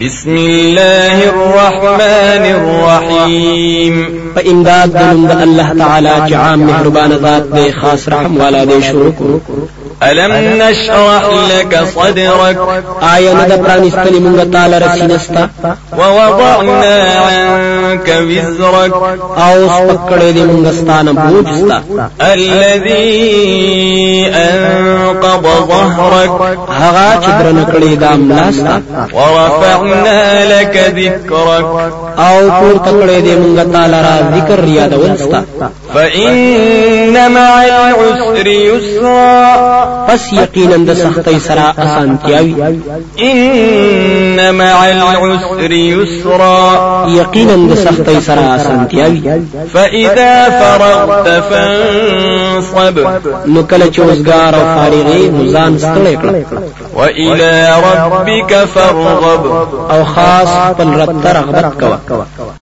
بسم الله الرحمن الرحيم په امداد د نوم د الله تعالی چې عام مهربان ذات دی خاص رحم والا دی شروع کړو ألم نشرح لك صدرك آیا نه د پرانستلې مونږ تعالی رسینستا ووضعنا عنك وزرك او سپکړې دې مونږ ستانه بوجستا الذي أنقض ظهرك هغه چې درنه کړې دا ملاستا ورفعنا لك ذكرك او پور تکړې دې مونږ تعالی را ذکر یاد ولستا فإن مع العسر يسرا پس یقینا د سختۍ سره اسانتیاوي إن مع العسر يسرا یقینا د سختۍ سره اسانتیاوي فإذا فرغت فانصب نو کله چې اوسګار او فارغې نو ځان ستړی کړه وإلى ربك فارغب او خاص خپل رب ته رغبت کوه